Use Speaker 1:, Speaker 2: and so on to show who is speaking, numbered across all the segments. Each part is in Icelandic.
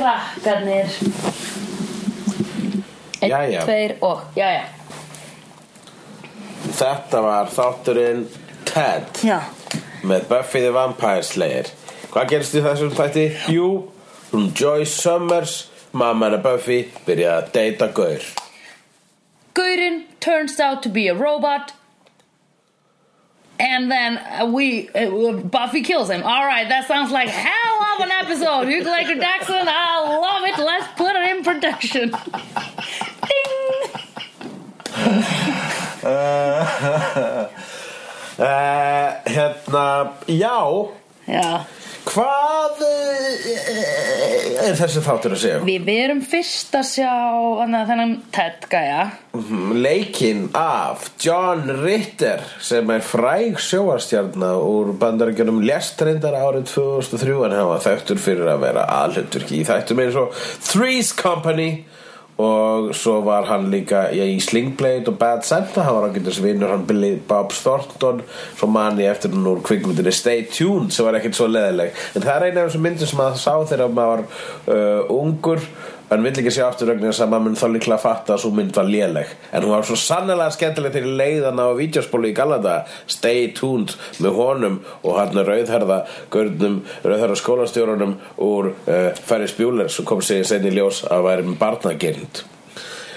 Speaker 1: strákarnir Einn,
Speaker 2: Jæja.
Speaker 1: tveir og Jæja
Speaker 2: Þetta var þátturinn Ted
Speaker 3: Já,
Speaker 2: með Buffy the Vampire Slayer Hvað gerist í þessum þætti? Jú, hún Joyce Summers mamma hennar Buffy byrjaði að deyta gaur
Speaker 1: Gaurin turns out to be a robot And then uh, we uh, Buffy kills him Alright, that sounds like hell of an episode Hugh Glaker Daxon, I love it Let's put it in production Ding
Speaker 2: Eh, uh, Hérna, já
Speaker 1: Já,
Speaker 2: Hvað eh, er þessi þáttur að segja?
Speaker 1: við við erum fyrst að sjá annað, þennan Ted gæja
Speaker 2: Mhm, leikinn af John Ritter sem er fræg sjóarstjarnar úr bandarækjunum lest reyndar árið 2003 en hann var þekktur fyrir að vera aðhundurki í þættum eins og Three's Company og svo var hann líka í Sling Blade og Bad Santa hann var ágættis vinnur hann Billy Bob Thornton svo man ég eftir hann úr kvikmyndinni Stay Tuned sem var ekkert svo leðileg en það er eina af þessum myndum sem maður sá þegar maður var uh, ungur hann vill ekki sjá aftur vegna þess að maður mun þá líklega fatta að svo mynd var léleg en hún var svo sannlega skemmtileg til leiðan á vídeospólu í Galata Stay Tuned með honum og hann rauðherða görnum, rauðherða skólastjórunum úr uh, Ferris Bueller sem kom sig senni í ljós að væri með barnagirnd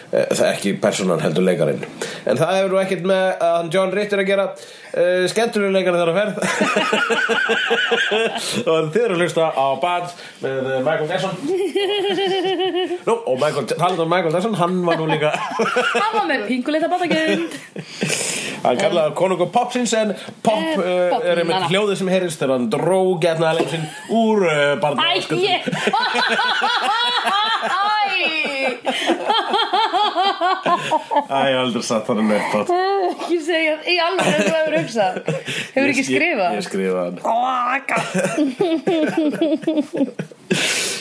Speaker 2: Eh, það er ekki persónan heldur leikarinn en það hefur nú ekkert með að hann John Ritter að gera uh, skemmtunum leikarinn þar að ferð og þið eru að hlusta á Bad með eh, Michael Jackson Nú, og Michael, talað um Michael Jackson, hann var nú líka
Speaker 1: Hann var með pinguleita batagind
Speaker 2: hann kallaði konung og popsins en pop
Speaker 1: Eh,
Speaker 2: uh,
Speaker 1: pop,
Speaker 2: er einmitt
Speaker 1: nana.
Speaker 2: hljóðið sem heyrist þegar hann dró getna sinn úr uh, barna
Speaker 1: Æ, ég Æ
Speaker 2: Æ, aldrei satt hann með uppátt
Speaker 1: Ekki segja, í alveg hefur hefur hugsað Hefur ekki skrifað
Speaker 2: Ég skrifa hann
Speaker 1: Ó, akka.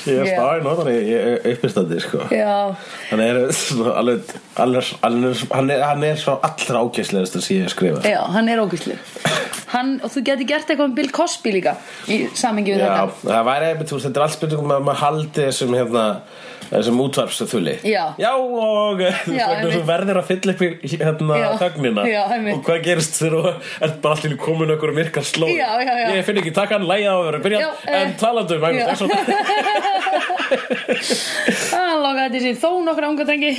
Speaker 2: Ég er
Speaker 1: Já.
Speaker 2: stæði nótan, ég er uppistandi sko
Speaker 1: Já,
Speaker 2: Hann er svona alveg alveg, alveg, hann, er, hann er svo allra ágæslegast sem ég hef skrifað
Speaker 1: já, hann er ógæslu Hann, og þú geti gert eitthvað um Bill Cosby líka Í samengi við
Speaker 2: Já,
Speaker 1: þetta
Speaker 2: það væri einmitt, þú veist, þetta er alls spurningum um að maður haldi þessum hérna þessum útvarpsþuli
Speaker 1: Já.
Speaker 2: Já og eh, þú
Speaker 1: Já,
Speaker 2: veist, vegna þú
Speaker 1: einmitt.
Speaker 2: verðir að fylla upp í hérna
Speaker 1: Já.
Speaker 2: þögnina
Speaker 1: Já, einmitt.
Speaker 2: og hvað gerist þegar þú ert bara allir komin okkur um virkar slóð
Speaker 1: Já, já, já.
Speaker 2: Ég finn ekki takkan, lægið á að vera að byrja
Speaker 1: Já, eh,
Speaker 2: en talandi
Speaker 1: já.
Speaker 2: um Magnús Jackson
Speaker 1: Hann lokaði þessi þó nokkra unga drengi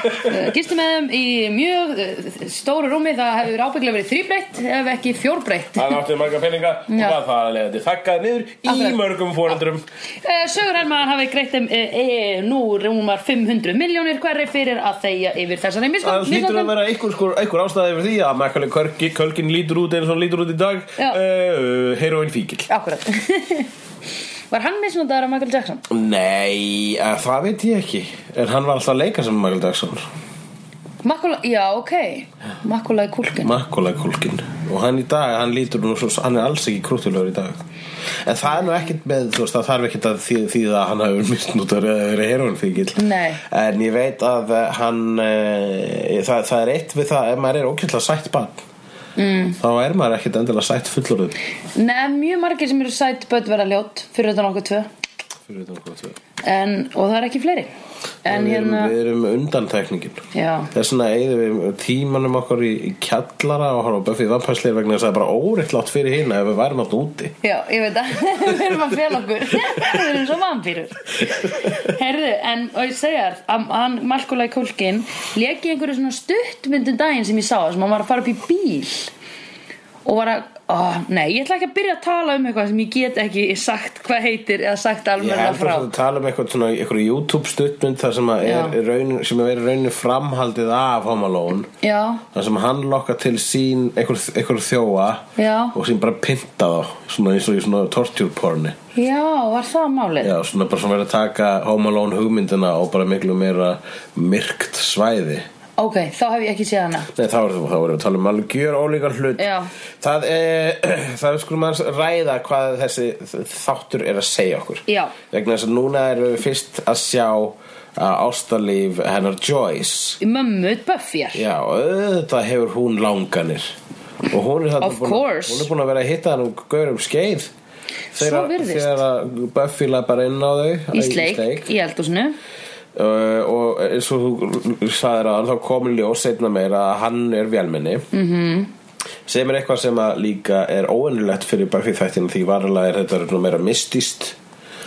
Speaker 1: Eh, Gistu með þeim í mjög eh, stóru rúmi Það hefur ábygglega verið þrýbreytt Ef ekki fjórbreytt
Speaker 2: Hann átti marga peninga og
Speaker 1: Já.
Speaker 2: hvað það að leiða til þakkaði niður í
Speaker 1: Akkurat.
Speaker 2: mörgum fóreldrum
Speaker 1: Eh, Sögur Hermann hafi greitt þeim e, e, Nú rúmar 500 miljónir hverri Fyrir að þegja yfir þessari
Speaker 2: Það
Speaker 1: misnótt
Speaker 2: hlýtur að vera einhver, skur, einhver ástæði yfir því að Macaulay Kölkin, Kölkin lítur út eins og hann lítur út í dag
Speaker 1: Já.
Speaker 2: uh, Heroin fíkil
Speaker 1: Akkurat Var hann misnótaður af Michael Jackson?
Speaker 2: Nei, eh, það veit ég ekki En hann var alltaf að leika sem Michael Jackson
Speaker 1: Makula, já, ok Makula í kúlkin
Speaker 2: Macaulay Kölkin Og hann í dag, hann lítur nú svo Hann er alls ekki krúttulegur í dag En það er nú ekkert með, þú veist, það þarf ekkert að því, því að hann hafi misnútur eða verið heroin fíkil
Speaker 1: Nei.
Speaker 2: En ég veit að eh, hann uh, það, það er eitt við það Ef maður er ókjöldlega sætt barn mm. Þá er maður ekkert endilega sætt fullorðum
Speaker 1: Nei, mjög margir sem eru sætt böt verða ljót Fyrir utan okkur tvö
Speaker 2: Fyrir utan hvað það er
Speaker 1: en, Og það er ekki fleiri En
Speaker 2: við, erum,
Speaker 1: hérna
Speaker 2: við erum undantekningin
Speaker 1: Já.
Speaker 2: Þess vegna eigðum við tímanum okkur í, í kjallara og horfa á Buffy vampæsleir vegna þess að það er bara óreiklátt fyrir hina ef við værum alltaf úti
Speaker 1: Já, ég veit að við erum að fela okkur Við erum svo vampýrur Herðu, en og ég segja þér að hann Malkula í kúlkin Leki einhverju svona stuttmyndum daginn sem ég sá sem hann var að fara upp í bíl Og var að, ó, nei, ég ætla ekki að byrja að tala um eitthvað sem ég get ekki sagt hvað heitir eða sagt
Speaker 2: Ég
Speaker 1: alveg
Speaker 2: held
Speaker 1: frá
Speaker 2: að þú tala um eitthvað svona eitthvað YouTube stuttmynd þar sem að er
Speaker 1: Já.
Speaker 2: raun, sem að vera rauninu framhaldið af Home Alone
Speaker 1: Já,
Speaker 2: þar sem hann lokka til sín eitthvað, eitthvað þjóa
Speaker 1: Já.
Speaker 2: og sín bara pynta þá svona eins og í svona torture porni
Speaker 1: já, var það málið?
Speaker 2: Já, svona bara svona verið að taka Home Alone hugmyndina og bara miklu meira myrkt svæði
Speaker 1: Ok, þá hef ég ekki séð hana
Speaker 2: Nei, þá erum þá erum við að tala um alveg gjör ólíkan hlut
Speaker 1: Já.
Speaker 2: Það er, það er skulum að ræða hvað þessi þáttur er að segja okkur
Speaker 1: Já.
Speaker 2: Vegna þess að núna erum við fyrst að sjá að ástalíf hennar Joyce
Speaker 1: Í Mömmu Buffyar
Speaker 2: Já, og auðvitað hefur hún langanir Og hún er, þarna
Speaker 1: Of
Speaker 2: búin,
Speaker 1: course.
Speaker 2: hún er búin að vera að hitta hann um gaurum skeið
Speaker 1: Svo
Speaker 2: Þegar-
Speaker 1: virðist.
Speaker 2: Þegar að Buffy lapar inn á þau
Speaker 1: í sleik, í eldúsinu
Speaker 2: uh, og eins og þú sagðir að þá komin ljós seinna meir að hann er vélminni -hmm.
Speaker 1: Mhm.
Speaker 2: sem er eitthvað sem að líka er óennilegt fyrir Buffy þættina því varlega er þetta nú meira mistist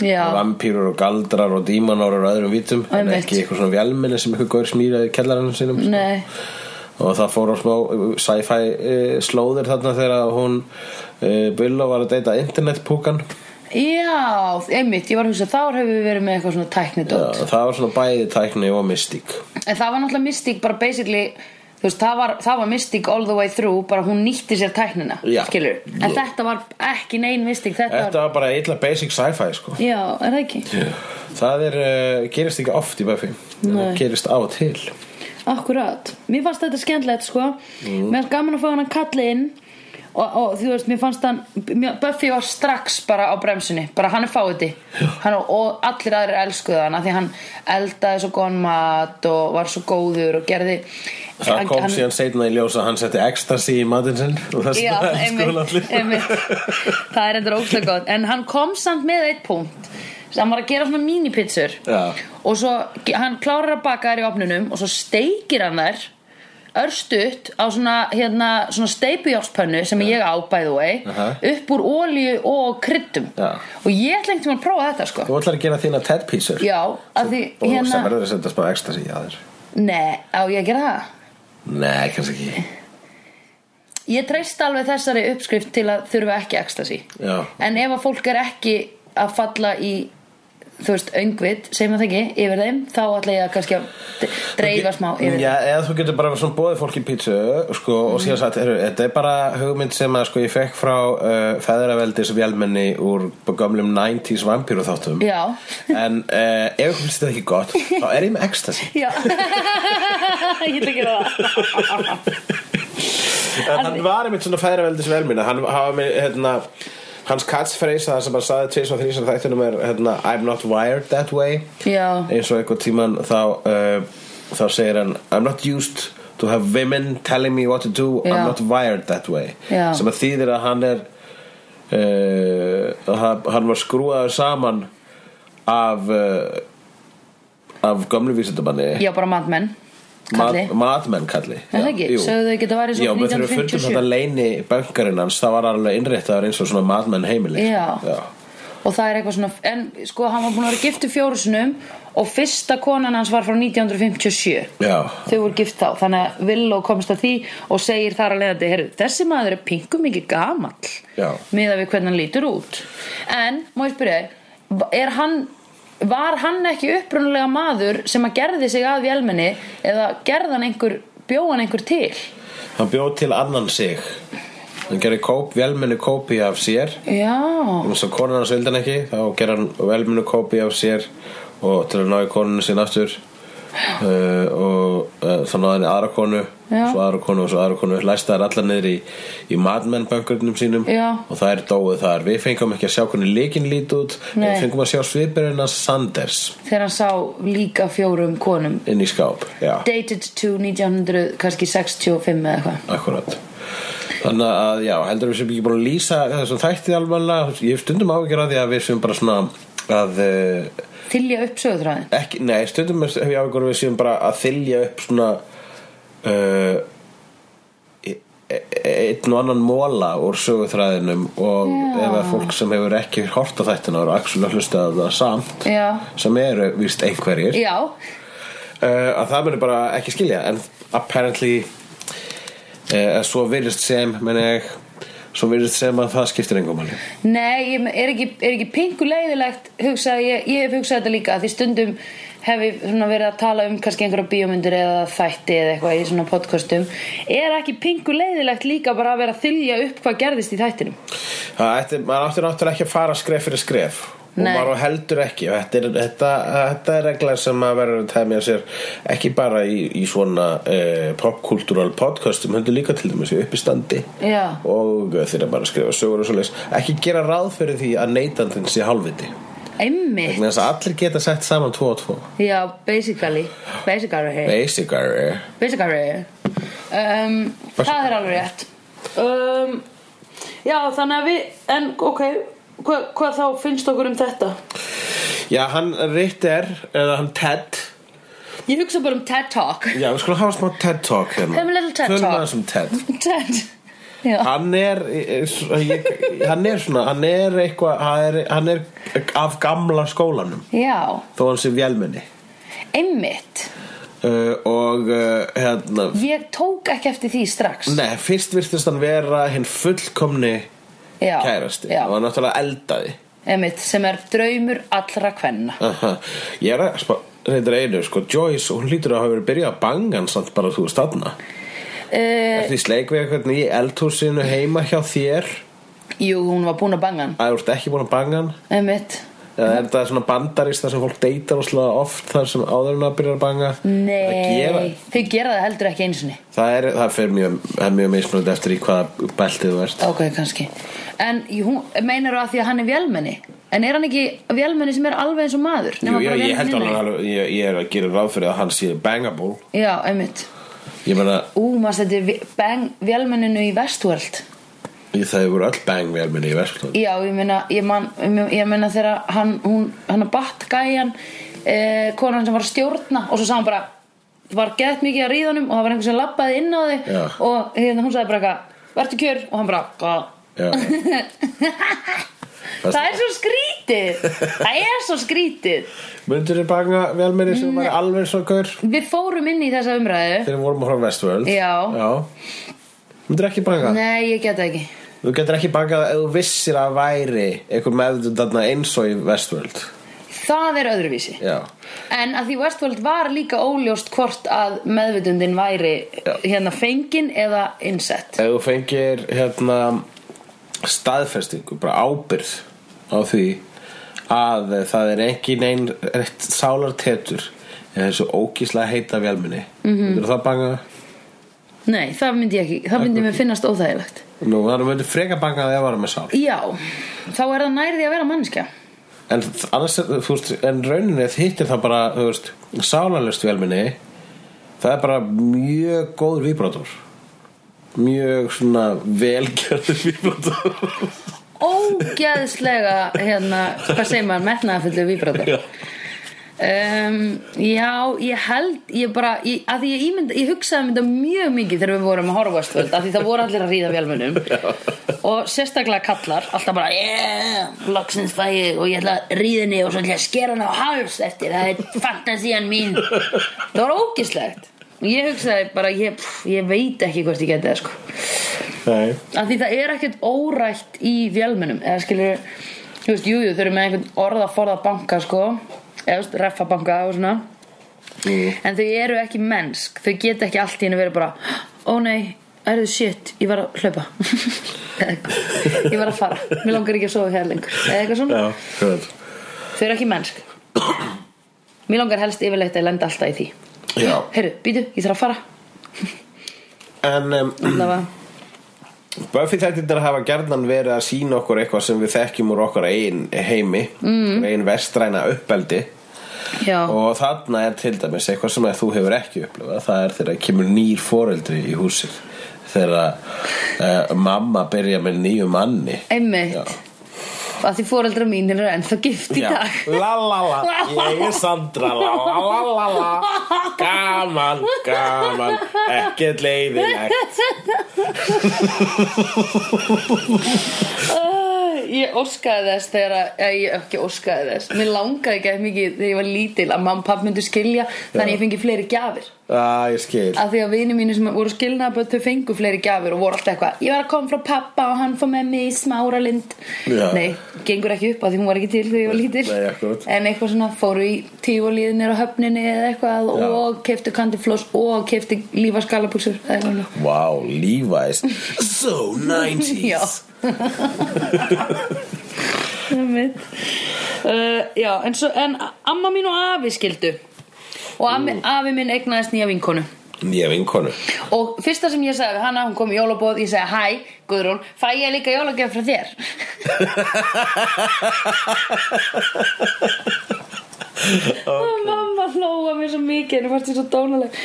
Speaker 1: já,
Speaker 2: vampýrur og galdrar og dímanor og öðrum vítum en
Speaker 1: Einmitt. Mhm.
Speaker 2: ekki eitthvað svona vélminni sem eitthvað gaur smýraði kellaranum sínum
Speaker 1: nei
Speaker 2: og það fór á smá uh, sci-fi uh, slóðir þarna þegar hún uh, Billo var að deyta internetpúkan
Speaker 1: já, einmitt, ég var að hugsa þar hefur við verið með eitthvað svona
Speaker 2: Já,
Speaker 1: tæknidótt
Speaker 2: það var svona bæði tækni og mystík
Speaker 1: en það var náttúrulega mystík bara basically þú veist, það var, það var mystík all the way through bara hún nýtti sér tæknina
Speaker 2: Já.
Speaker 1: skilur, en þetta var ekki nein mystík þetta,
Speaker 2: Þetta var bara illa basic sci-fi sko
Speaker 1: var, já, er það ekki
Speaker 2: Það er, uh, gerist ekki oft í Buffy Það gerist á og til
Speaker 1: Akkurat, mér fannst þetta skemmtilegt sko
Speaker 2: Mm.
Speaker 1: Mér fannst gaman að fá hann að kalla inn og, og þú veist, mér fannst hann mér- Buffy var strax bara á bremsunni bara hann er fáiði hann, og allir aðrir elskuðu hann af því hann eldaði svo góðan mat og var svo góður og gerði
Speaker 2: Það
Speaker 1: hann-
Speaker 2: kom
Speaker 1: hann-
Speaker 2: síðan seinna í ljós að hann setti ekstasi í matinn sinn og þess
Speaker 1: Já,
Speaker 2: vegna elskuðu hann
Speaker 1: einmitt,
Speaker 2: allir.
Speaker 1: einmitt Það er endur ókslega gott En hann kom samt með eitt punkt hann var að gera svona mínipitsur
Speaker 2: Já.
Speaker 1: og svo ge- hann klárar að baka þær í opnunum og svo steikir hann þær örstutt á svona, hérna, svona steipujárspönnu sem ég á by the way
Speaker 2: Aha.
Speaker 1: upp úr olíu og kryddum
Speaker 2: Já.
Speaker 1: og ég ætla einhvern tímann að prófa þetta sko
Speaker 2: Þú ætlar að gera þína Ted písur
Speaker 1: Já, af því
Speaker 2: og sem
Speaker 1: hérna
Speaker 2: verður að setja smá ekstasi í aður
Speaker 1: Nei, á ég að gera það
Speaker 2: Nei, kannski ekki
Speaker 1: Ég treyst alveg þessari uppskrift til að þurfa ekki ekstasi
Speaker 2: Já.
Speaker 1: En ef að fólk er ekki að falla í þú veist, öngvit, segjum það ekki, yfir þeim þá ætla ég að kannski að d- dreifa smá yfir Mhm.
Speaker 2: Já, eða þú getur bara svona bóðið fólki pítsu sko, og síðan sagt, heru, þetta er bara hugmynd sem að sko, ég fekk frá uh, feðraveldis vélmenni úr gömlum 90s vampíru þáttum
Speaker 1: Já.
Speaker 2: en uh, ef ykkur finnst þetta ekki gott þá er ég með ekstasi
Speaker 1: Já Ég ætla að gera það
Speaker 2: en hann var einmitt svona feðraveldis vélmenni hann hafa með hérna hans katsfreysa sem hann saði tvis og þrísar þættunum er hérna, I'm not wired that way
Speaker 1: Já,
Speaker 2: eins og eitthvað tíman þá uh, þá segir hann I'm not used to have women telling me what to do
Speaker 1: Já.
Speaker 2: I'm not wired that way
Speaker 1: Já.
Speaker 2: sem að þýðir að hann er uh, að hann- hann var skrúaður saman af uh, af gömlu vísindamanni
Speaker 1: já bara matmenn Kalli
Speaker 2: matmenn kalli
Speaker 1: Er það ekki? Sögðu þau geta varið svo
Speaker 2: Já, menn þegar við fundum
Speaker 1: 1957.
Speaker 2: um þetta leini bankarinn hans það var alveg innréttaður eins og svona matmenn heimili
Speaker 1: Já. og það er eitthvað svona en sko hann var búin að vera gift í fjórusunum og fyrsta konan hans var frá 1957
Speaker 2: Já.
Speaker 1: þau voru gift þá þannig að Villó komst að því og segir þar að leiðandi heyrðu, þessi maður er pingu mikið gamall
Speaker 2: Já.
Speaker 1: miða við hvernig hann lítur út en, má ég spyrja þig, er hann var hann ekki upprunalega maður sem að gerði sig að vélmenni eða gerði hann einhver bjóðan einhver til
Speaker 2: hann bjóð til annan sig hann gerði kóp, velmennu kópi af sér
Speaker 1: já,
Speaker 2: og svo konan hans vildi hann ekki þá gerði hann velmennu kópi af sér og til að náði konunni sín aftur uh, og uh, þá náði hann í aðra konu
Speaker 1: Já.
Speaker 2: svo aðra konu og svo aðra konu læsta þær allar niður í, í matmennböngurnum sínum
Speaker 1: Já.
Speaker 2: og þær dóu þar við fengum ekki að sjá hvernig líkin lít út
Speaker 1: Nei.
Speaker 2: við fengum að sjá svipurinn að Sanders
Speaker 1: þegar hann sá líka fjórum konum
Speaker 2: inn í skáp Já.
Speaker 1: dated to 1900 kannski 65 eða eitthvað
Speaker 2: Akkurat Þannig að já, heldur við sem ekki búin að lýsa þessum þættið alveg ég hef stundum áhyggjur að því að við sem bara svona að eh,
Speaker 1: þylja upp sögutræðin
Speaker 2: ekki, nei, stundum hef ég áhyggjur að við sem bara að þylja upp svona uh, e- e- einn og annan móla úr söguþræðinum og ef að fólk sem hefur ekki hort á þættina og axlu að hlusta á það samt
Speaker 1: já,
Speaker 2: sem eru víst einhverjir
Speaker 1: já,
Speaker 2: uh, að það muni bara ekki skilja en apparently uh, svo virðist sem meni ég svo virðist sem að það skiptir engum manni
Speaker 1: nei ég er ekki, er ekki pingu leiðilegt hugsaði, ég, ég hef hugsað þetta líka því stundum hef ég svona verið að tala um kannski einhverja bíómyndir eða þætti eða eitthvað í svona podcastum er ekki pingu leiðilegt líka bara að vera að þylja upp hvað gerðist í þættinum
Speaker 2: það ætti, maður áttur náttúrulega ekki að fara skref fyrir skref og
Speaker 1: Nei.
Speaker 2: maður á heldur ekki og þetta er, þetta, þetta er regla sem að verður að tæmja sér ekki bara í, í svona uh, popkultúral podcastum heldur líka til dæmis í uppistandi
Speaker 1: Já.
Speaker 2: og þeirra bara að skrifa sögur og svoleiðis ekki gera ráð fyrir því að neytandinn sé halviti
Speaker 1: einmitt,
Speaker 2: þannig að allir geta sett saman tvo og tvo
Speaker 1: já, basically basically,
Speaker 2: basic are
Speaker 1: Basically um,
Speaker 2: Basically.
Speaker 1: Það er alveg rétt um, Já þannig að við En ok Hvað, hvað þá finnst okkur um þetta?
Speaker 2: Já, hann Ritter, eða hann Ted
Speaker 1: Ég hugsa bara um TED Talk
Speaker 2: Já, við skulum hafa smá TED Talk hérna
Speaker 1: Höfum little TED
Speaker 2: Tölum
Speaker 1: Talk.
Speaker 2: aðeins um TED
Speaker 1: TED Já,
Speaker 2: Hann er, er- ég, hann er svona, hann er eitthvað, hann er, hann er af gamla skólanum
Speaker 1: já.
Speaker 2: Þó hann sé vélmenni
Speaker 1: einmitt
Speaker 2: uh, Og uh, hérna,
Speaker 1: Ég tók ekki eftir því strax
Speaker 2: nei, fyrst virtist hann vera hinn fullkomni
Speaker 1: já,
Speaker 2: kærasti
Speaker 1: já,
Speaker 2: Og náttúrulega eldaði
Speaker 1: einmitt, sem er draumur allra kvenna
Speaker 2: Aha. Ég er að spá, reyndar einu, sko, Joyce, hún lítur að hafa verið að byrja að banga hann samt bara þú stanna
Speaker 1: uh,
Speaker 2: Er því sleik við eitthvað í eldhúsinu heima hjá þér
Speaker 1: Jú, hún var búin að banga hann
Speaker 2: að þú ert ekki búin að banga hann
Speaker 1: Einmitt
Speaker 2: eða er þetta svona bandarist þar sem fólk deytar og slaga oft þar sem áður en að byrja að banga það, gera,
Speaker 1: Nei, þau gera það heldur ekki einsinni
Speaker 2: það er, það fer mjög, það er mjög mismunandi eftir í hvaða beltið þú ert
Speaker 1: Ok, kannski En í- hún, meinar það því að hann er vélmenni En er hann ekki vélmenni sem er alveg eins og maður
Speaker 2: Jú, já, ég
Speaker 1: vélmenni
Speaker 2: held alveg,
Speaker 1: innan í?
Speaker 2: alveg ég, ég er að gera ráð fyrir að hann sé bangable
Speaker 1: Já, einmitt
Speaker 2: ég meina,
Speaker 1: Ú, maður þetta er vi- bang, vélmenninu í Westworld
Speaker 2: ég- það hefur öll bang vel minni í verslun
Speaker 1: Já, ég meina, ég, man, ég meina þegar hann, hún, hann batt gæjan eh, konan sem var að stjórna og svo sá hann bara, var gett mikið að ríðanum og það var einhver sem labbaði inn á þig
Speaker 2: Já.
Speaker 1: og hérna, hún sagði bara eitthvað, vertu kjör og hann bara, hvað?
Speaker 2: Já.
Speaker 1: Það er svo skrítið Það er svo skrítið
Speaker 2: Mundur þið banga vel minni sem var alveg svo gaur
Speaker 1: Við fórum inn í þessa umræðu
Speaker 2: þegar við vorum að horfa á Westworld
Speaker 1: Já.
Speaker 2: já. Mundur ekki banga
Speaker 1: Nei, ég geta ekki
Speaker 2: Þú getur ekki bangað ef þú vissir að væri einhver meðvitaðna eins og í Westworld
Speaker 1: Það er öðruvísi
Speaker 2: Já,
Speaker 1: En að því Westworld var líka óljóst hvort að meðvitundin væri
Speaker 2: Já.
Speaker 1: hérna fengin eða insett
Speaker 2: ef þú fengir hérna staðfestingu, bara ábyrð á því að það er ekki neinn rétt sálar tetur eða þessu ógíslega heita vélminni mm -hmm. Þú það banga
Speaker 1: Nei, það myndi ég ekki, það myndi mér finnast óþægilegt
Speaker 2: Nú, þannig að myndir freka banga að það var með sál
Speaker 1: Já, þá er það nærði að vera mannskja
Speaker 2: En þ- annars, er- þú veist, en rauninni hittir það bara, þú veist, sálanlust velminni, það er bara mjög góður víbrátor. Mjög svona velgjörður víbrátor.
Speaker 1: Ógeðslega, hérna, hvað segir maður, metnaðafullu víbrator
Speaker 2: Já.
Speaker 1: um, Já, ég held, ég bara, ég, að því ég, ímynd, ég hugsaði mynda mjög mikið þegar við vorum að horfa stöld Af því það voru allir að ríða vélmunum Og sérstaklega kallar, alltaf bara, yeah, loksins fæ ég og ég ætla að ríða henni og svo ætla ég að skera henni á háls eftir Það er fantasían mín Það var ógeðslegt Og Ég hugsaði bara, ég, pff, ég veit ekki hvort ég geti það sko
Speaker 2: Nei.
Speaker 1: að því það er ekkert órætt í vélmennum eða skilur, þú veist, jújú, þau eru með einhvern orða forða banka sko eða þú veist, reffa banka og svona
Speaker 2: Mm.
Speaker 1: en þau eru ekki mennsk, þau geta ekki allt í henni verið bara, ó nei erðu shit, ég var að hlaupa Eða eitthvað. ég var að fara mér langar ekki að sofa hér lengur eða eitthvað svona,
Speaker 2: Já, hvað?
Speaker 1: þau eru ekki mennsk mér langar helst yfirleitt að lenda alltaf í því
Speaker 2: Já.
Speaker 1: heyrðu, býtu, ég þarf að fara
Speaker 2: En um,
Speaker 1: allavega,
Speaker 2: Buffy þættirnar hafa gerðan verið að sína okkur eitthvað sem við þekkjum úr okkar eigin heimi, mm. eigin vestræna uppeldi.
Speaker 1: já,
Speaker 2: Og þarna er til dæmis eitthvað sem að þú hefur ekki upplifað það er þegar kemur nýr foreldri í húsið þegar uh, mamma byrja með nýju manni
Speaker 1: einmitt
Speaker 2: Já.
Speaker 1: að því foreldra mínir eru ennþá gift í dag
Speaker 2: la la la, ég er Sandra la la la la la gaman, gaman ekkert leiðilegt
Speaker 1: Æ, Ég óskaði þess þegar að, eða ég ekki óskaði þess Mér langaði ekki eða mikið þegar ég var lítil að mamma og papp myndu skilja þannig að ég fengi fleiri gjafir
Speaker 2: ah, ég skil
Speaker 1: Af því að vini mínu sem voru skilnaðaböð þau fengu fleiri gjafir og voru alltaf eitthvað Ég var að koma frá pappa og hann fór með mig í smára lind
Speaker 2: Já.
Speaker 1: Nei, gengur ekki upp af því hún var ekki til þegar ég var lítil
Speaker 2: Nei, akkúrat.
Speaker 1: En eitthvað svona fóru í tífólíðinir á höfninni eða eitthvað
Speaker 2: Já.
Speaker 1: og keftu kandifloss og keftu lífaskalabuxur eða eitthvað svona.
Speaker 2: wow, Levi's so 90s
Speaker 1: Já Einmitt. uh, Já, en, svo, en amma mín og afi skildu Og afi, afi minn eignaðist nýja vinkonu
Speaker 2: nýja vinkonu
Speaker 1: Og fyrsta sem ég sagði við hana, hún kom í jólabóð Ég sagði, hæ, Guðrún, fæ ég líka jólagjöf frá þér Og mamma hlóa mér svo mikið En ég fannst ég svo dónaleg en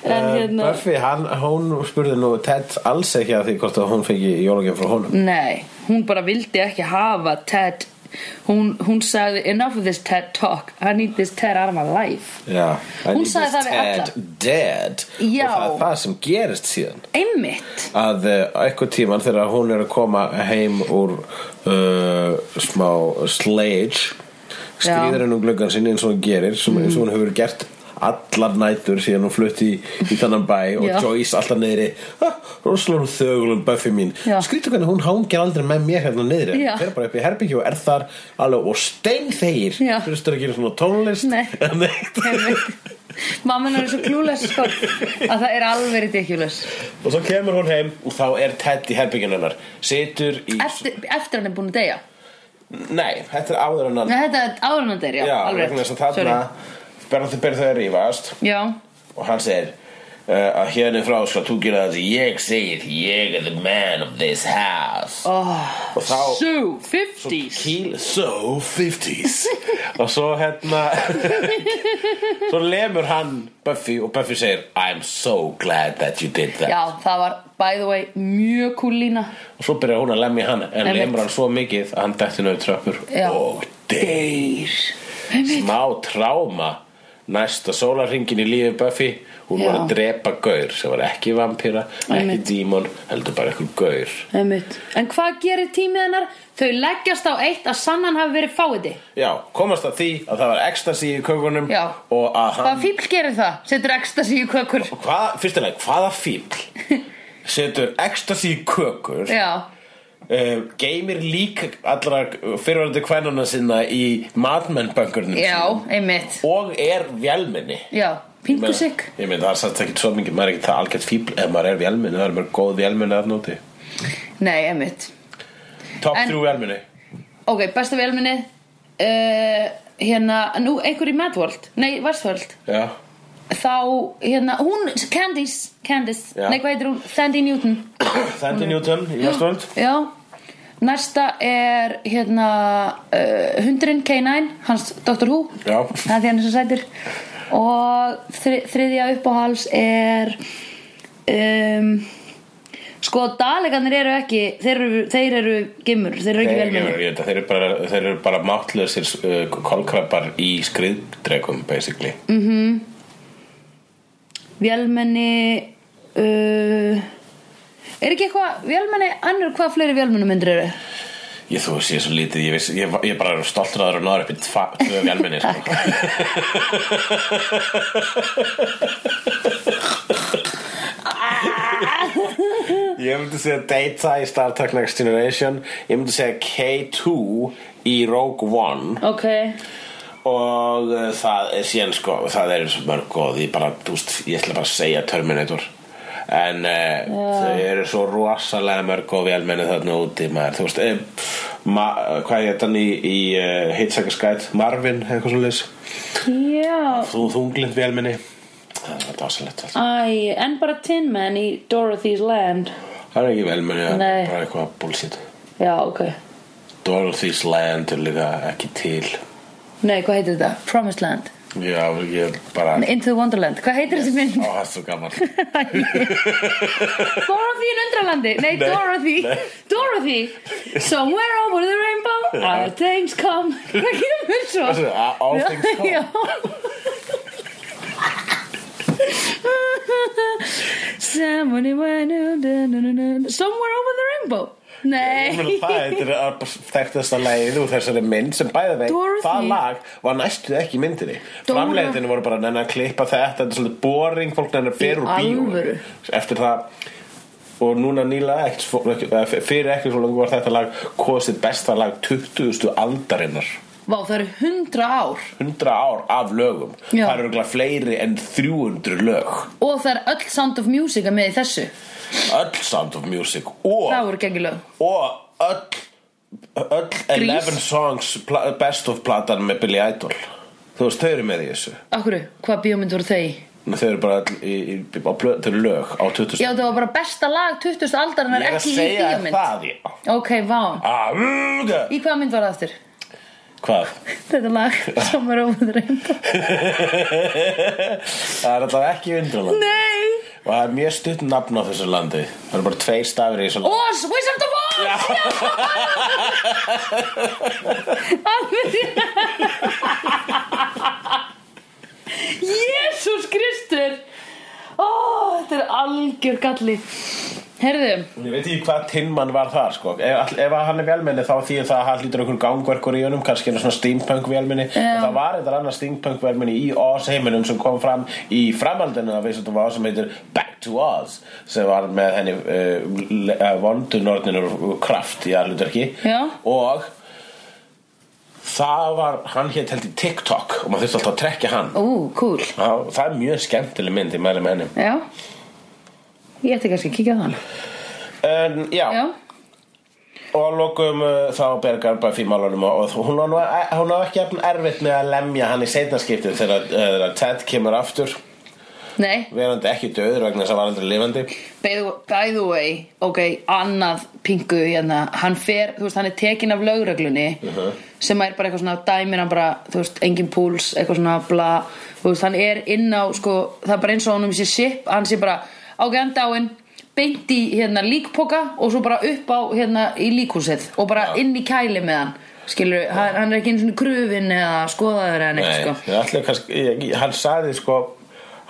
Speaker 2: Eh,
Speaker 1: hérna
Speaker 2: Buffy, hann, hún spurði nú Ted alls ekki að því hvort að hún fengi jólagjöf frá honum
Speaker 1: Nei, hún bara vildi ekki hafa Ted Hún, hún sagði enough of this Ted talk I need this Ted out of my life
Speaker 2: Já, I
Speaker 1: Hún
Speaker 2: need
Speaker 1: sagði
Speaker 2: this
Speaker 1: það við
Speaker 2: Ted
Speaker 1: alla.
Speaker 2: Dead
Speaker 1: Já.
Speaker 2: Og það er það sem gerist síðan
Speaker 1: Einmitt
Speaker 2: að eh, eitthvað tíman þegar hún er að koma heim úr uh, smá slage skrýður henn um gluggan sinni eins og hún gerir sem eins
Speaker 1: Mm.
Speaker 2: og hún hefur gert allar nætur síðan hún flutti í, í þannan bæ og
Speaker 1: Já.
Speaker 2: Joyce alltaf neyri ah, rosalum þögulum Buffy mín
Speaker 1: Já.
Speaker 2: skrýtur hvernig hún hangir aldrei með mér hérna neyri
Speaker 1: Já.
Speaker 2: fer bara upp í herbyggju og er þar alveg og steinþegir
Speaker 1: Já.
Speaker 2: hlustur ekki einu svona tónlist
Speaker 1: Nei.
Speaker 2: eða neitt.
Speaker 1: Einmitt Mamma er svo klúles sko að það er alveg ridiculous
Speaker 2: og svo kemur hún heim og þá er Ted í herbygginu hennar situr í
Speaker 1: eftir, eftir hann er búin að deyja
Speaker 2: Nei, þetta er áður en hann
Speaker 1: Nei, þetta er áðurnandir, já,
Speaker 2: Já,
Speaker 1: alveg rétt.
Speaker 2: vegna þess að þarna
Speaker 1: Sorry.
Speaker 2: Berða þau berða þau að rífast
Speaker 1: Já,
Speaker 2: Og hann segir uh, að hérna frá skal þú gera það sem ég segir Ég er the man of this house
Speaker 1: oh,
Speaker 2: Og þá
Speaker 1: so 50s
Speaker 2: Kill so 50s Og svo hérna Svo lemur hann Buffy og Buffy segir I'm so glad that you did that
Speaker 1: Já, það var, by the way, mjög kúl lína
Speaker 2: Og svo byrjar hún að lemja hann En
Speaker 1: Einmitt.
Speaker 2: lemur hann svo mikið að hann dettur nöðu tröppur
Speaker 1: Já.
Speaker 2: Og deyr
Speaker 1: Einmitt.
Speaker 2: smá tráma næsta sólarringin í lífi Buffy hún var
Speaker 1: Já.
Speaker 2: að drepa gaur sem var ekki vampíra, ekki
Speaker 1: Einmitt.
Speaker 2: dímon heldur bara eitthvað gaur
Speaker 1: Einmitt. En hvað gerir tímið hennar? Þau leggjast á eitt að sannan hafi verið fáiði
Speaker 2: já, komast að því að það var ekstasi í kökunum
Speaker 1: Já.
Speaker 2: og að
Speaker 1: Hvað
Speaker 2: hann
Speaker 1: fíbl gerir það? Setur ekstasi í kökur
Speaker 2: hvað, fyrstilega, hvaða fíbl setur ekstasi í kökur
Speaker 1: Já,
Speaker 2: uh, geymir lík allra fyrirvændi kvænuna sinna í madmennböngurnum
Speaker 1: já, einmitt
Speaker 2: og er vélminni
Speaker 1: Já, pingu sig
Speaker 2: Ég meina, það er satt ekki svo mikið, maður er ekki það algjört fíbl ef maður er vélminni, það er mjög góð vélminni að nóti.
Speaker 1: Nei, einmitt
Speaker 2: Top
Speaker 1: En-
Speaker 2: 3 vélminni.
Speaker 1: Ok, besta velminni uh, Hérna, nú einhver í Madworld Nei, Vestworld
Speaker 2: Já.
Speaker 1: Þá, hérna, hún, Candice Candice,
Speaker 2: Já.
Speaker 1: nei hvað heitir hún? Sandy Newton
Speaker 2: Sandy Newton í Westworld.
Speaker 1: Já Næsta er, hérna uh, Hundurinn K9, hans Dr. Who
Speaker 2: Já.
Speaker 1: Það er því hann er svo sætur Og þri, þriðja uppáhals er um, Sko, dalegarnir eru ekki Þeir eru, þeir eru gimmur Þeir eru ekki
Speaker 2: Þeir,
Speaker 1: velmenni
Speaker 2: ég veit að þeir eru bara, þeir eru bara máttlöðsir uh, kolkrabbar í skriðdregum, basically.
Speaker 1: Vélmenni uh, Er ekki eitthvað Vélmenni, annur hvað fleiri vélmennumyndir eru?
Speaker 2: Ég þú sé svo lítið, ég, viss, ég, ég bara er stoltur að það eru náður upp í tva- tvö vélminni, sko. Ég myndi segja Data í Star Trek Next Generation, ég myndi segja K2 í Rogue One.
Speaker 1: Ok
Speaker 2: og uh, það er síðan sko það er svo mörg og því bara úst, ég ætla bara að segja Terminator en uh, þau eru svo rosalega mörg og velmenni þarna úti maður, þú veist um, ma, hvað er þetta í, í uh, Hitchhiker's Guide Marvin, eitthvað svo leys
Speaker 1: Já
Speaker 2: þú þunglind velmenni það er sko. dásalegt allt.
Speaker 1: Æ, en bara Tin Man í Dorothy's Land
Speaker 2: það er ekki velmenni, það
Speaker 1: Nei.
Speaker 2: er bara eitthvað bullshit
Speaker 1: Já, ok
Speaker 2: Dorothy's Land er líka ekki til
Speaker 1: Nei, hvað heitir þetta? Promised Land
Speaker 2: já, ég bara
Speaker 1: Nei, Into the Wonderland Hvað heitir þessi mynd?
Speaker 2: Ó, það er svo gammal
Speaker 1: Dorothy in Undralandi Nei,
Speaker 2: Nei,
Speaker 1: Dorothy
Speaker 2: nei.
Speaker 1: Dorothy Somewhere over the rainbow All things come Það kemur svo
Speaker 2: All things come
Speaker 1: Já. Someone who I knew, da, da, da, da, Somewhere over the rainbow
Speaker 2: Ég meina það,
Speaker 1: Nei
Speaker 2: þetta er að þekktasta lagið úr þessari mynd sem bæði veit
Speaker 1: Dorothy.
Speaker 2: það lag var næstu ekki í myndinni
Speaker 1: Dora.
Speaker 2: framleiðinu voru bara nenni að klippa þetta þetta er svolítið boring, fólk nenni að fer úr bíó
Speaker 1: alvöru?
Speaker 2: eftir það og núna nýla ekkert svo- ekki- eða fyrir ekki svo langt var þetta lag kosið besta lag 20. aldarinnar
Speaker 1: Vá, það eru hundra ár
Speaker 2: 100 ár af lögum
Speaker 1: Já.
Speaker 2: það eru örugglega fleiri en 300 lög
Speaker 1: Og það er öll Sound of Music að með í þessu
Speaker 2: öll Sound of Music og
Speaker 1: Það voru gengilög
Speaker 2: og öll öll 11 songs pla- best of platan með Billy Idol þú veist, þau eru með í þessu
Speaker 1: Akkur, hvað bíómynd voru þau í?
Speaker 2: Nei, þau eru bara öll í, í, í, á plö, þau eru lög á 2000
Speaker 1: Já, það var bara besta lag 20. aldar en
Speaker 2: ég er að
Speaker 1: ekki í
Speaker 2: segja
Speaker 1: bíómynd
Speaker 2: það já.
Speaker 1: Ok, vá
Speaker 2: Ah, mm, da.
Speaker 1: Í hvaða mynd var það aftur?
Speaker 2: hvað?
Speaker 1: Þetta lag, Somewhere over the rainbow
Speaker 2: það er alltaf ekki vindraland
Speaker 1: Nei
Speaker 2: og það er mjög stutt nafn á þessu landi það eru bara tveir stafir í þessu landi
Speaker 1: Oz, Wizard of Oz Já Alveg Jésús Kristur Ó, þetta er algjör galli Herðu,
Speaker 2: ég veit ekki hvað tinnmann var þar sko. ef, ef hann er velmenni þá þýðir það að hann hlýtur einhver gangverkur í önum kannski er svona steampunk velmenni
Speaker 1: Já.
Speaker 2: og það var eitthvað annað steampunk velmenni í Oz heiminum sem kom fram í framhaldinu af Wizard of Oz sem heitir Back to Oz sem var með henni uh, vondunorninu kraft í aðluturki
Speaker 1: Já.
Speaker 2: og það var, hann hétt held í TikTok og maður þurfti alltaf að trekja hann
Speaker 1: ú, cool
Speaker 2: Já, það er mjög skemmtileg mynd, ég mæli með henni
Speaker 1: Já Ég ætti kannski að kíkja á þann
Speaker 2: en, já,
Speaker 1: Já,
Speaker 2: og að lokum uh, þá bergar bara fyrir málunum og og hún á, nú- eh, hún á ekki efn erfitt með að lemja hann í seinarskiptið þegar, uh, þegar Ted kemur aftur
Speaker 1: nei
Speaker 2: verandi ekki döður vegna þess að hann var aldrei lifandi
Speaker 1: By the, by the way, ok, annað pingu hérna, hann fer, þú veist, hann er tekin af lögreglunni
Speaker 2: Uh-huh.
Speaker 1: sem er bara eitthvað svona, dæmir hann bara, þú veist, engin púls, eitthvað svona, bla, þú veist, hann er inn á, sko, það er bara eins og honum sé sip, hann sé bara, ok, hann dáinn, beint í, hérna, líkpoka og svo bara upp á, hérna, í líkhúsið og bara inn í kæli með hann, skilur, hann, hann er ekki einu svona krufin eða skoðaður eða neitt, sko.
Speaker 2: Nei, allir kannski, ég, ég- hann sagði sko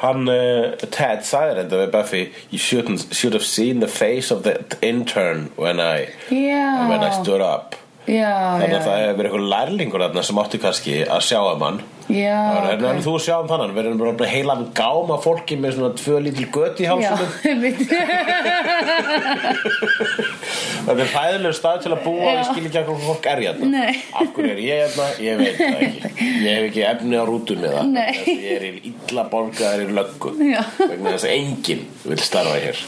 Speaker 2: hann, uh, Ted sagði þetta við Buffy you shouldn't, should have seen the face of the intern when I,
Speaker 1: Já.
Speaker 2: when I stood up
Speaker 1: Já, Ah.
Speaker 2: þannig
Speaker 1: já,
Speaker 2: að það hefur verið eitthvað lærlingur þarna sem átti kannski að sjá um hann
Speaker 1: Já,
Speaker 2: Það var- en
Speaker 1: ok.
Speaker 2: en þú sjá um þannan við erum bara heilan gáma fólki með svona tvö lítil gött í
Speaker 1: já,
Speaker 2: hálsunum
Speaker 1: einmitt.
Speaker 2: þetta er hæðilegur stað til að búa og ég
Speaker 1: Já.
Speaker 2: skil ekki að hvað fólk er hérna
Speaker 1: Nei.
Speaker 2: af hverju er ég hérna, ég veit það ekki ég hef ekki efni á rútum með það
Speaker 1: Nei.
Speaker 2: Þess að ég er í illa borgaðar í löggu
Speaker 1: Já.
Speaker 2: vegna þess að enginn vil starfa hér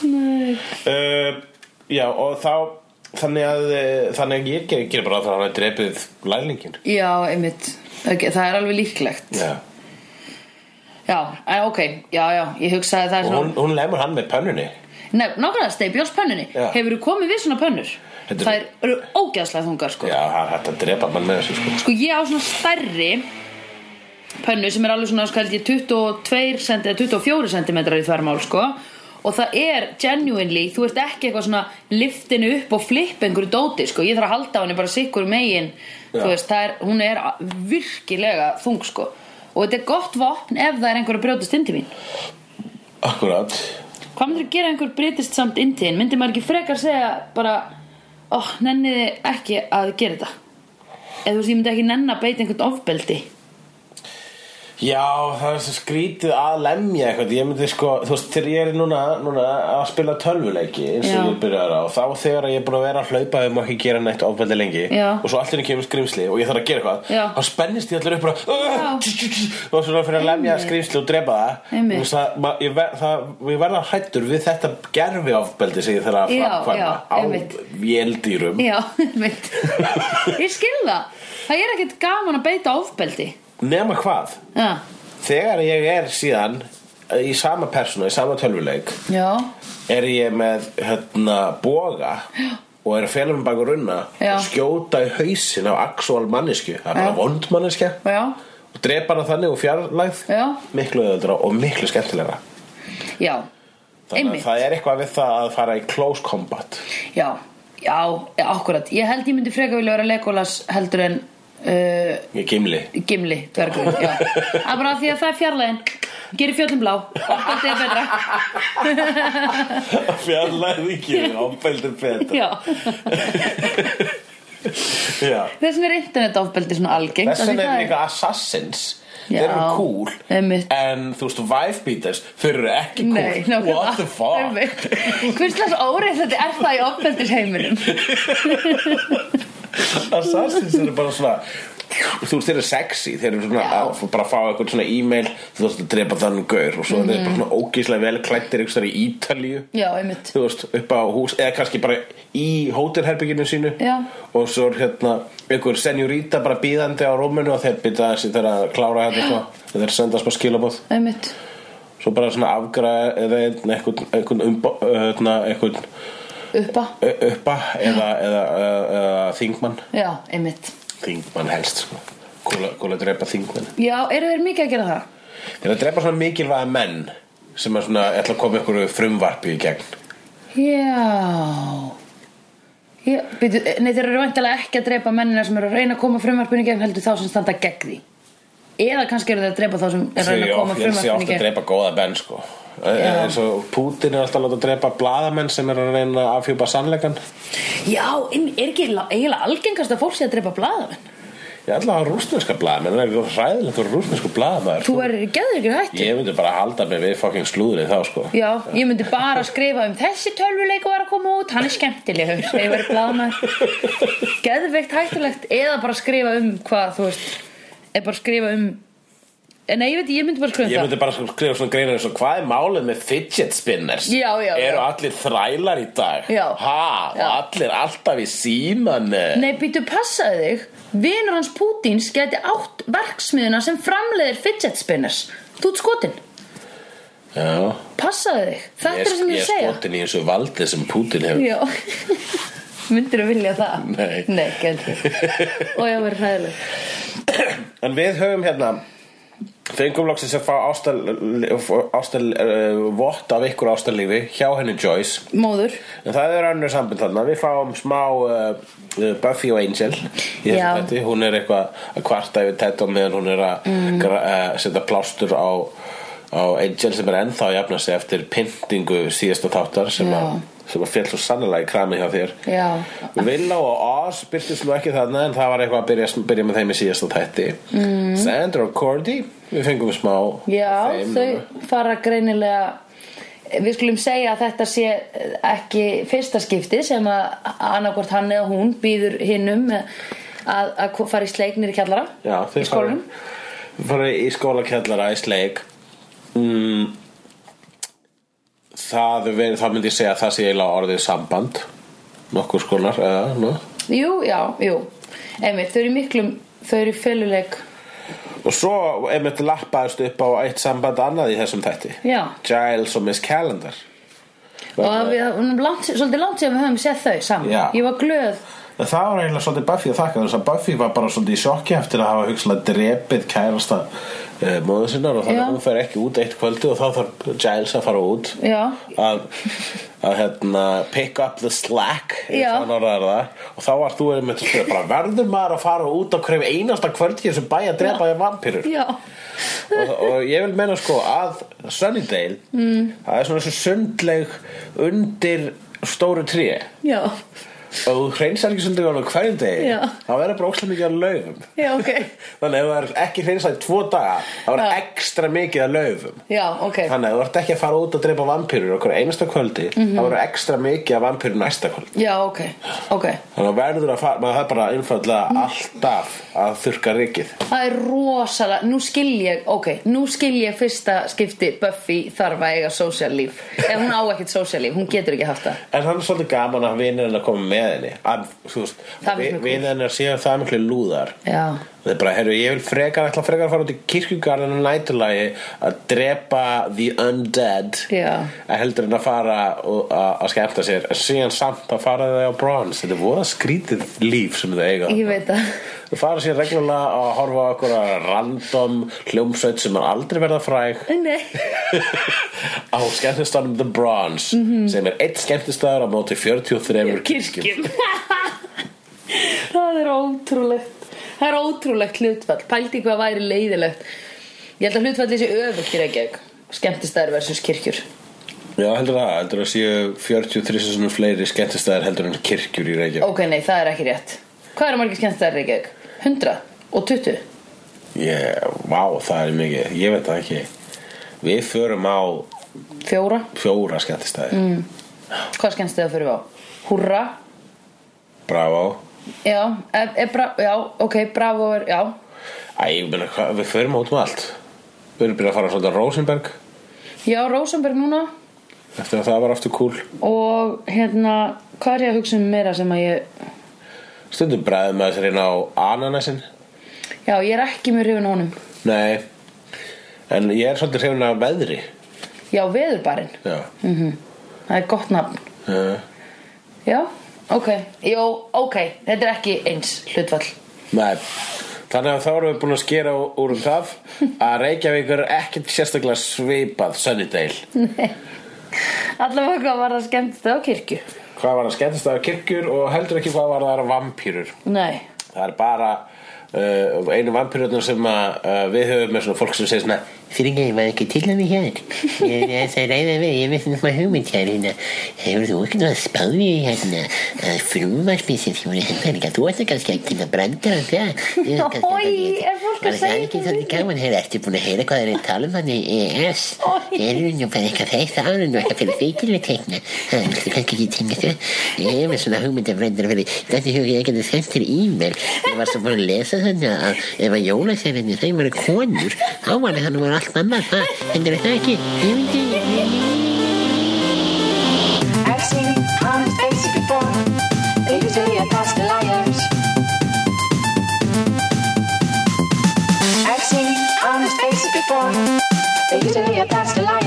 Speaker 2: uh, já og þá þannig að, eh, þannig að ég ger, ger bara það að hann er drepið lælingin
Speaker 1: Já, einmitt Ok, Það er alveg líklegt
Speaker 2: já
Speaker 1: Já, en ok, já, já, ég hugsaði það er
Speaker 2: og hún,
Speaker 1: svona
Speaker 2: hún lemur hann með pönnunni
Speaker 1: Nei, nákvæmlega steip, Jóns pönnunni
Speaker 2: Já.
Speaker 1: Hefurðu komið við svona pönnur?
Speaker 2: Þetta
Speaker 1: Það
Speaker 2: er-
Speaker 1: eru ógæðslega þungar, sko
Speaker 2: já, hann hætti að drepa mann með þessu sko.
Speaker 1: Sko, ég á svona stærri pönnu sem er alveg svona, sko, held ég 22 cm eða 24 cm í þvermál, sko og það er genuinely, þú ert ekki eitthvað svona liftinu upp og flipp einhverju dóti, sko, ég þarf að halda á henni bara sikkur megin,
Speaker 2: Já.
Speaker 1: þú veist, það er hún er a- virkilega þung, sko og þetta er gott vopn ef það er einhver að brjótast inn til mín
Speaker 2: akkurat
Speaker 1: Hvað myndir að gera ef einhver breytist samt inn til þín? Myndir maður ekki frekar segja bara Ó, oh, nenniði ekki að gera þetta Eða þú veist, ég myndi ekki nenn að beita einhvern ofbeldi
Speaker 2: Já, það er svo skrítið að lemja eitthvað Ég myndi sko, þú veist, þegar ég er núna, núna að spila tölvuleiki eins og
Speaker 1: Já.
Speaker 2: ég byrjar á, þá þegar ég er búin að vera að hlaupa um að ekki gera neitt ofbeldi lengi
Speaker 1: Já.
Speaker 2: og svo allir kemur skrimsli og ég þarf að gera
Speaker 1: Já.
Speaker 2: eitthvað þá spennist ég allir upp bara
Speaker 1: Já.
Speaker 2: og svona fyrir að lemja skrimsli og drepa það
Speaker 1: Einmitt.
Speaker 2: Þú veist, það, ma- ég ver- það ég verða hrættur við þetta gerfi ofbeldi sem ég þarf að
Speaker 1: Já,
Speaker 2: framkvæma
Speaker 1: já,
Speaker 2: á
Speaker 1: einmitt.
Speaker 2: véldýrum
Speaker 1: Já, veit Ég skil það Það er ekkert gaman að beita ofbeldi
Speaker 2: nema hvað
Speaker 1: Já,
Speaker 2: þegar ég er síðan í sama persónu, í sama tölvuleik
Speaker 1: já,
Speaker 2: er ég með hérna boga og er að fela mig baka runna
Speaker 1: Já.
Speaker 2: og skjóta í hausin á actual mannesku það er bara
Speaker 1: Já.
Speaker 2: vond manneskja
Speaker 1: já,
Speaker 2: og drepa hana þannig og fjarlægð
Speaker 1: Já.
Speaker 2: miklu öðuldra og miklu skemmtilegra
Speaker 1: já
Speaker 2: þannig
Speaker 1: Einmitt.
Speaker 2: að það er eitthvað við það að fara í close combat
Speaker 1: Já, já, já, akkurat Ég held ég myndi frekar vilja vera Legolas heldur en uh,
Speaker 2: í gimli
Speaker 1: Gimli, dvergur já. að bara af því að það er fjarlæðin gerir fjöllum blá, allt er betra
Speaker 2: fjarlægð í gimli, ábældur betur
Speaker 1: já.
Speaker 2: Já.
Speaker 1: þess vegna er internet ofbeldi svona algengt
Speaker 2: Þess vegna
Speaker 1: af
Speaker 2: er
Speaker 1: því það
Speaker 2: líka Assassins
Speaker 1: Já,
Speaker 2: Þeir eru cool
Speaker 1: einmitt.
Speaker 2: En þú veist, Vive Beaters Þeir eru ekki cool
Speaker 1: Nei, nákvæmlega.
Speaker 2: What the fuck
Speaker 1: Einmitt. Hvers slags órið þetta er það í ofbeldisheiminum
Speaker 2: Assassins eru bara svona Þú veist, þeir eru sexy Þeir eru svona
Speaker 1: Já.
Speaker 2: að bara fá eitthvað svona e-mail Þú veist, að drepa þannig gaur Og svo mm -hmm. þeir eru bara svona ógeðslega vel klættir Ykkur í Ítalíu
Speaker 1: Já, einmitt
Speaker 2: Þú veist, upp á hús Eða kannski bara í hótelherbygginu sínu
Speaker 1: Já.
Speaker 2: Og svo er hérna Ykkur senjurita bara bíðandi á rúminu Og þeir byrja þessi þeir að klára hérna eitthvað. Þeir eru að senda smá skilabóð
Speaker 1: einmitt
Speaker 2: svo bara svona afgræða eða einn- einhvern einhvern umbo- hérna, einhvern
Speaker 1: uppa,
Speaker 2: ö- uppa eða, eða, eða, eða þingmann
Speaker 1: já, einmitt
Speaker 2: þingmann helst sko. Kúla, kúla að drepa þingmann
Speaker 1: Já, eru þeir mikið að gera það?
Speaker 2: Þeir að drepa svona mikilvæga menn sem er svona, ætla að koma ykkur frumvarpi í gegn
Speaker 1: Já Já, byrju, nei þeir eru vantilega ekki að drepa mennina sem eru að reyna að koma frumvarpinu í gegn heldur þá sem standa gegn því eða kannski eru þeir að drepa þá sem eru að reyna að koma
Speaker 2: ég sé
Speaker 1: frumvarpinu í
Speaker 2: ofta að
Speaker 1: gegn
Speaker 2: drepa góða benn sko
Speaker 1: Já.
Speaker 2: eins og Putin er alltaf að láta að drepa blaðamenn sem er að reyna að afhjúpa sannleikan
Speaker 1: Já, inn, er ekki la- eiginlega algengast að fólk sé að drepa blaðamenn
Speaker 2: ég ætla að hafa rúsneska blaðamenn það er eitthvað hræðilegt að vera rúsnesku blaðamenn
Speaker 1: Þú er geður ekki hættu
Speaker 2: ég myndi bara halda mig við fucking slúðrið þá sko
Speaker 1: Já, ég myndi bara skrifa um þessi tölvuleiku var að koma út, hann er skemmtilegur ef ég verið blaðamenn Geðveikt hættulegt eða bara skrifa um hvað, þú veist eða bara skrifa um Nei, ég veit, ég myndi bara skrifa um
Speaker 2: Ég
Speaker 1: það
Speaker 2: myndi bara sko skrifa svona greinar eins og hvað er málið með fidget spinners?
Speaker 1: Já, já, já.
Speaker 2: Eru allir þrælar í dag?
Speaker 1: Já.
Speaker 2: Ha,
Speaker 1: Já.
Speaker 2: og allir alltaf í símanni?
Speaker 1: Nei, býtu, passaði þig Vinur hans Pútins gæti átt verksmiðuna sem framleiðir fidget spinners Þú ert skotin,
Speaker 2: Já.
Speaker 1: passaði þig Þetta er það sem ég er að
Speaker 2: Ég
Speaker 1: segja
Speaker 2: er skotin í eins og valdið sem Putin hefur.
Speaker 1: Já Myndirðu vilja það?
Speaker 2: Nei.
Speaker 1: Nei, gæti Og ég verið hræðileg
Speaker 2: En við höfum hérna fengum loksins að fá ástal, ástal uh, vott af ykkur ástallífi hjá henni Joyce
Speaker 1: Móður
Speaker 2: en það er önnur sambund þarna við fáum smá uh, Buffy og Angel í þessu
Speaker 1: Já.
Speaker 2: þætti hún er eitthvað að kvarta yfir Ted og meðan hún er að mm. setja plástur á, á Angel sem er ennþá að jafna sig eftir pyntingu síðasta þáttar sem,
Speaker 1: Já.
Speaker 2: að, sem að féll svo sannlega í krami hjá þér
Speaker 1: Já.
Speaker 2: Villa og Oz byrtist nú ekki þarna en það var eitthvað að byrja, byrja með þeim í síðasta þætti mm. Sandra og Cordy við fengum smá
Speaker 1: Já,
Speaker 2: þeim.
Speaker 1: þau fara greinilega Við skulum segja að þetta sé ekki fyrsta skipti sem að annarkvort hann eða hún býður hinnum að, að fara í sleik nýri kjallara
Speaker 2: Já, þau
Speaker 1: í skólanum
Speaker 2: fara, fara í skólakjallara í sleik mm, það, ver, það myndi ég segja að það sé eiginlega orðið samband nokkur skonar eða, no.
Speaker 1: Jú, já, jú Einmitt, þau eru í miklum, þau eru í feluleik
Speaker 2: og svo einmitt lappaðist upp á eitt samband annað í þessum þætti
Speaker 1: Já.
Speaker 2: Giles og Miss Calendar
Speaker 1: Og að við, um, langt, svolítið langt sem við höfum séð þau saman
Speaker 2: Já.
Speaker 1: Ég var glöð
Speaker 2: En það var eiginlega svolítið Buffy að þakka þess að Buffy var bara svolítið í sjokki eftir að hafa hugsalega drepið kærasta uh, móðu sinnar og þannig
Speaker 1: Já.
Speaker 2: að hún fer ekki út eitt kvöldi og þá þarf Giles að fara út
Speaker 1: Já.
Speaker 2: að, að hérna, pick up the slack eins
Speaker 1: Já.
Speaker 2: og hann orðaði það. og þá var þú erum með að spila bara verður maður að fara út á hverjum einasta kvöldi sem bæja að drepa þér vampirur
Speaker 1: Já,
Speaker 2: og, og ég vil meina sko að Sunnydale mm. það er svona þessu sundleg undir stóru tríi
Speaker 1: já,
Speaker 2: og þú hreinsar ekki svolítið á hverjum degi
Speaker 1: Já.
Speaker 2: þá verður bara óslega mikið að laufum
Speaker 1: já, ok
Speaker 2: þannig að ef það er ekki hreinsað í tvo daga þá er
Speaker 1: Já.
Speaker 2: ekstra mikið að laufum
Speaker 1: Já, ok
Speaker 2: þannig að þú ert ekki að fara út að dreipa vampýrur okkur einasta kvöldi
Speaker 1: Mhm.
Speaker 2: þá verður ekstra mikið að vampýrur næsta kvöldi
Speaker 1: Já, ok, ok
Speaker 2: þannig að verður að fara maður það er bara
Speaker 1: Mhm.
Speaker 2: einfallega alltaf að þurka rikið
Speaker 1: Það er rosalega, nú skil ég, ok, nú skil ég fyrsta skipti Buffy þarf að eiga social líf Ef hún á ekkert social líf, hún getur ekki haft það
Speaker 2: en það er svolítið gaman að vinir hennar koma með henni að, þú veist,
Speaker 1: Það finnst mér kúl.
Speaker 2: vinir hennar séu það miklu lúðar
Speaker 1: Já,
Speaker 2: Það er bara, herru, ég vil frekar, ætla frekar að fara út í kirkjugarðinu nætulagi að drepa the undead
Speaker 1: Já.
Speaker 2: að heldur en að fara og- að að skemmta sér en síðan samt að fara þau á bronze þetta er voða skrítið líf sem þau eiga
Speaker 1: ég veit að
Speaker 2: þau fara sér reglulega að horfa á okkur að random hljómsveit sem er aldrei verða fræg
Speaker 1: Nei,
Speaker 2: á skemmtistanum The Bronze sem er eitt skemmtistaður á móti 43 kirkjum
Speaker 1: kirkjum það er ótrúlegt það er ótrúlegt hlutfall pældi hvað væri leiðilegt ég held að hlutfalli sé öfugt í Reykjavík skemmtistæður versus kirkjur
Speaker 2: Já, heldur það, heldur það séu 43 sinni fleiri skemmtistaður heldur en kirkjur í Reykjavík
Speaker 1: ok, nei, það er ekki rétt hvað eru margir skemmtistæður í Reykjavík? 100 og 20
Speaker 2: Ég, vá, það er mikið, ég veit það ekki Við förum á
Speaker 1: fjóra,
Speaker 2: fjóra skemmtistæði mm.
Speaker 1: hvað skemmtistæður fyrir við á? húrra,
Speaker 2: Bravo
Speaker 1: já, e, e, bra, já ok, bravo er, já
Speaker 2: Æ, ég meina, hva, við förum út um allt Við erum byrjað að fara svolítið á Rosenberg
Speaker 1: já, Rósamberg núna
Speaker 2: Eftir að það var aftur kúl
Speaker 1: og hérna, hvað er ég að hugsa um meira sem að ég
Speaker 2: Stundum bræðum með þessar inn á Ananasin
Speaker 1: já, ég er ekki mjög hrifin á honum
Speaker 2: Nei En ég er svolítið hrifin af veðri
Speaker 1: já, veðurbarinn
Speaker 2: Já
Speaker 1: Það er gott nafn
Speaker 2: uh,
Speaker 1: Já, ok Jó, ok, þetta er ekki eins hlutfall
Speaker 2: Nei, Þannig að þá erum við búin að skera ú- úr um það að Reykjavík er ekkert sérstaklega svipað Sunnydale.
Speaker 1: Allavega hvað var það skemmtist á kirkju
Speaker 2: Hvað var það skemmtist að kirkjur og heldur ekki hvað var það vampýrur.
Speaker 1: Nei,
Speaker 2: Það er bara uh, einu vampýrurnar sem að, uh, við höfum með svona fólk sem segir svona
Speaker 3: Fyrir ekki, var ekki til að við hér Ég er þess að ræða við, ég veist nú maður hugmynd hér hérna. Hefur þú ekki náttúrulega spáði hérna að frumvarpið sem þið voru hennar ekki þú ætti kannski ekki að brenda á það Ég er kannski
Speaker 1: Oj,
Speaker 3: ekki-
Speaker 1: er fólk að
Speaker 3: Var Það
Speaker 1: segja
Speaker 3: er ekki
Speaker 1: þetta
Speaker 3: svolítið gaman hér, ertu búin að heyra hvað þeir eru að tala um hann í ES
Speaker 1: Oj.
Speaker 3: Eru nú bara eitthvað þess að árun og eitthvað fyrir feikilega tekna Það er kannski ekki tengja það Ég er með svona hugmynd að brenda fyrir Þetta hugið ekki að það sent þér e-mail Ég var svo búin að lesa þannig að ef að jólasefinni þeim eru konur þá var það nú allt annað það heldur það ekki Ég veit ekki
Speaker 4: I've seen honest faces before. They usually are past the liars. I've seen honest faces before. They usually are past the liars.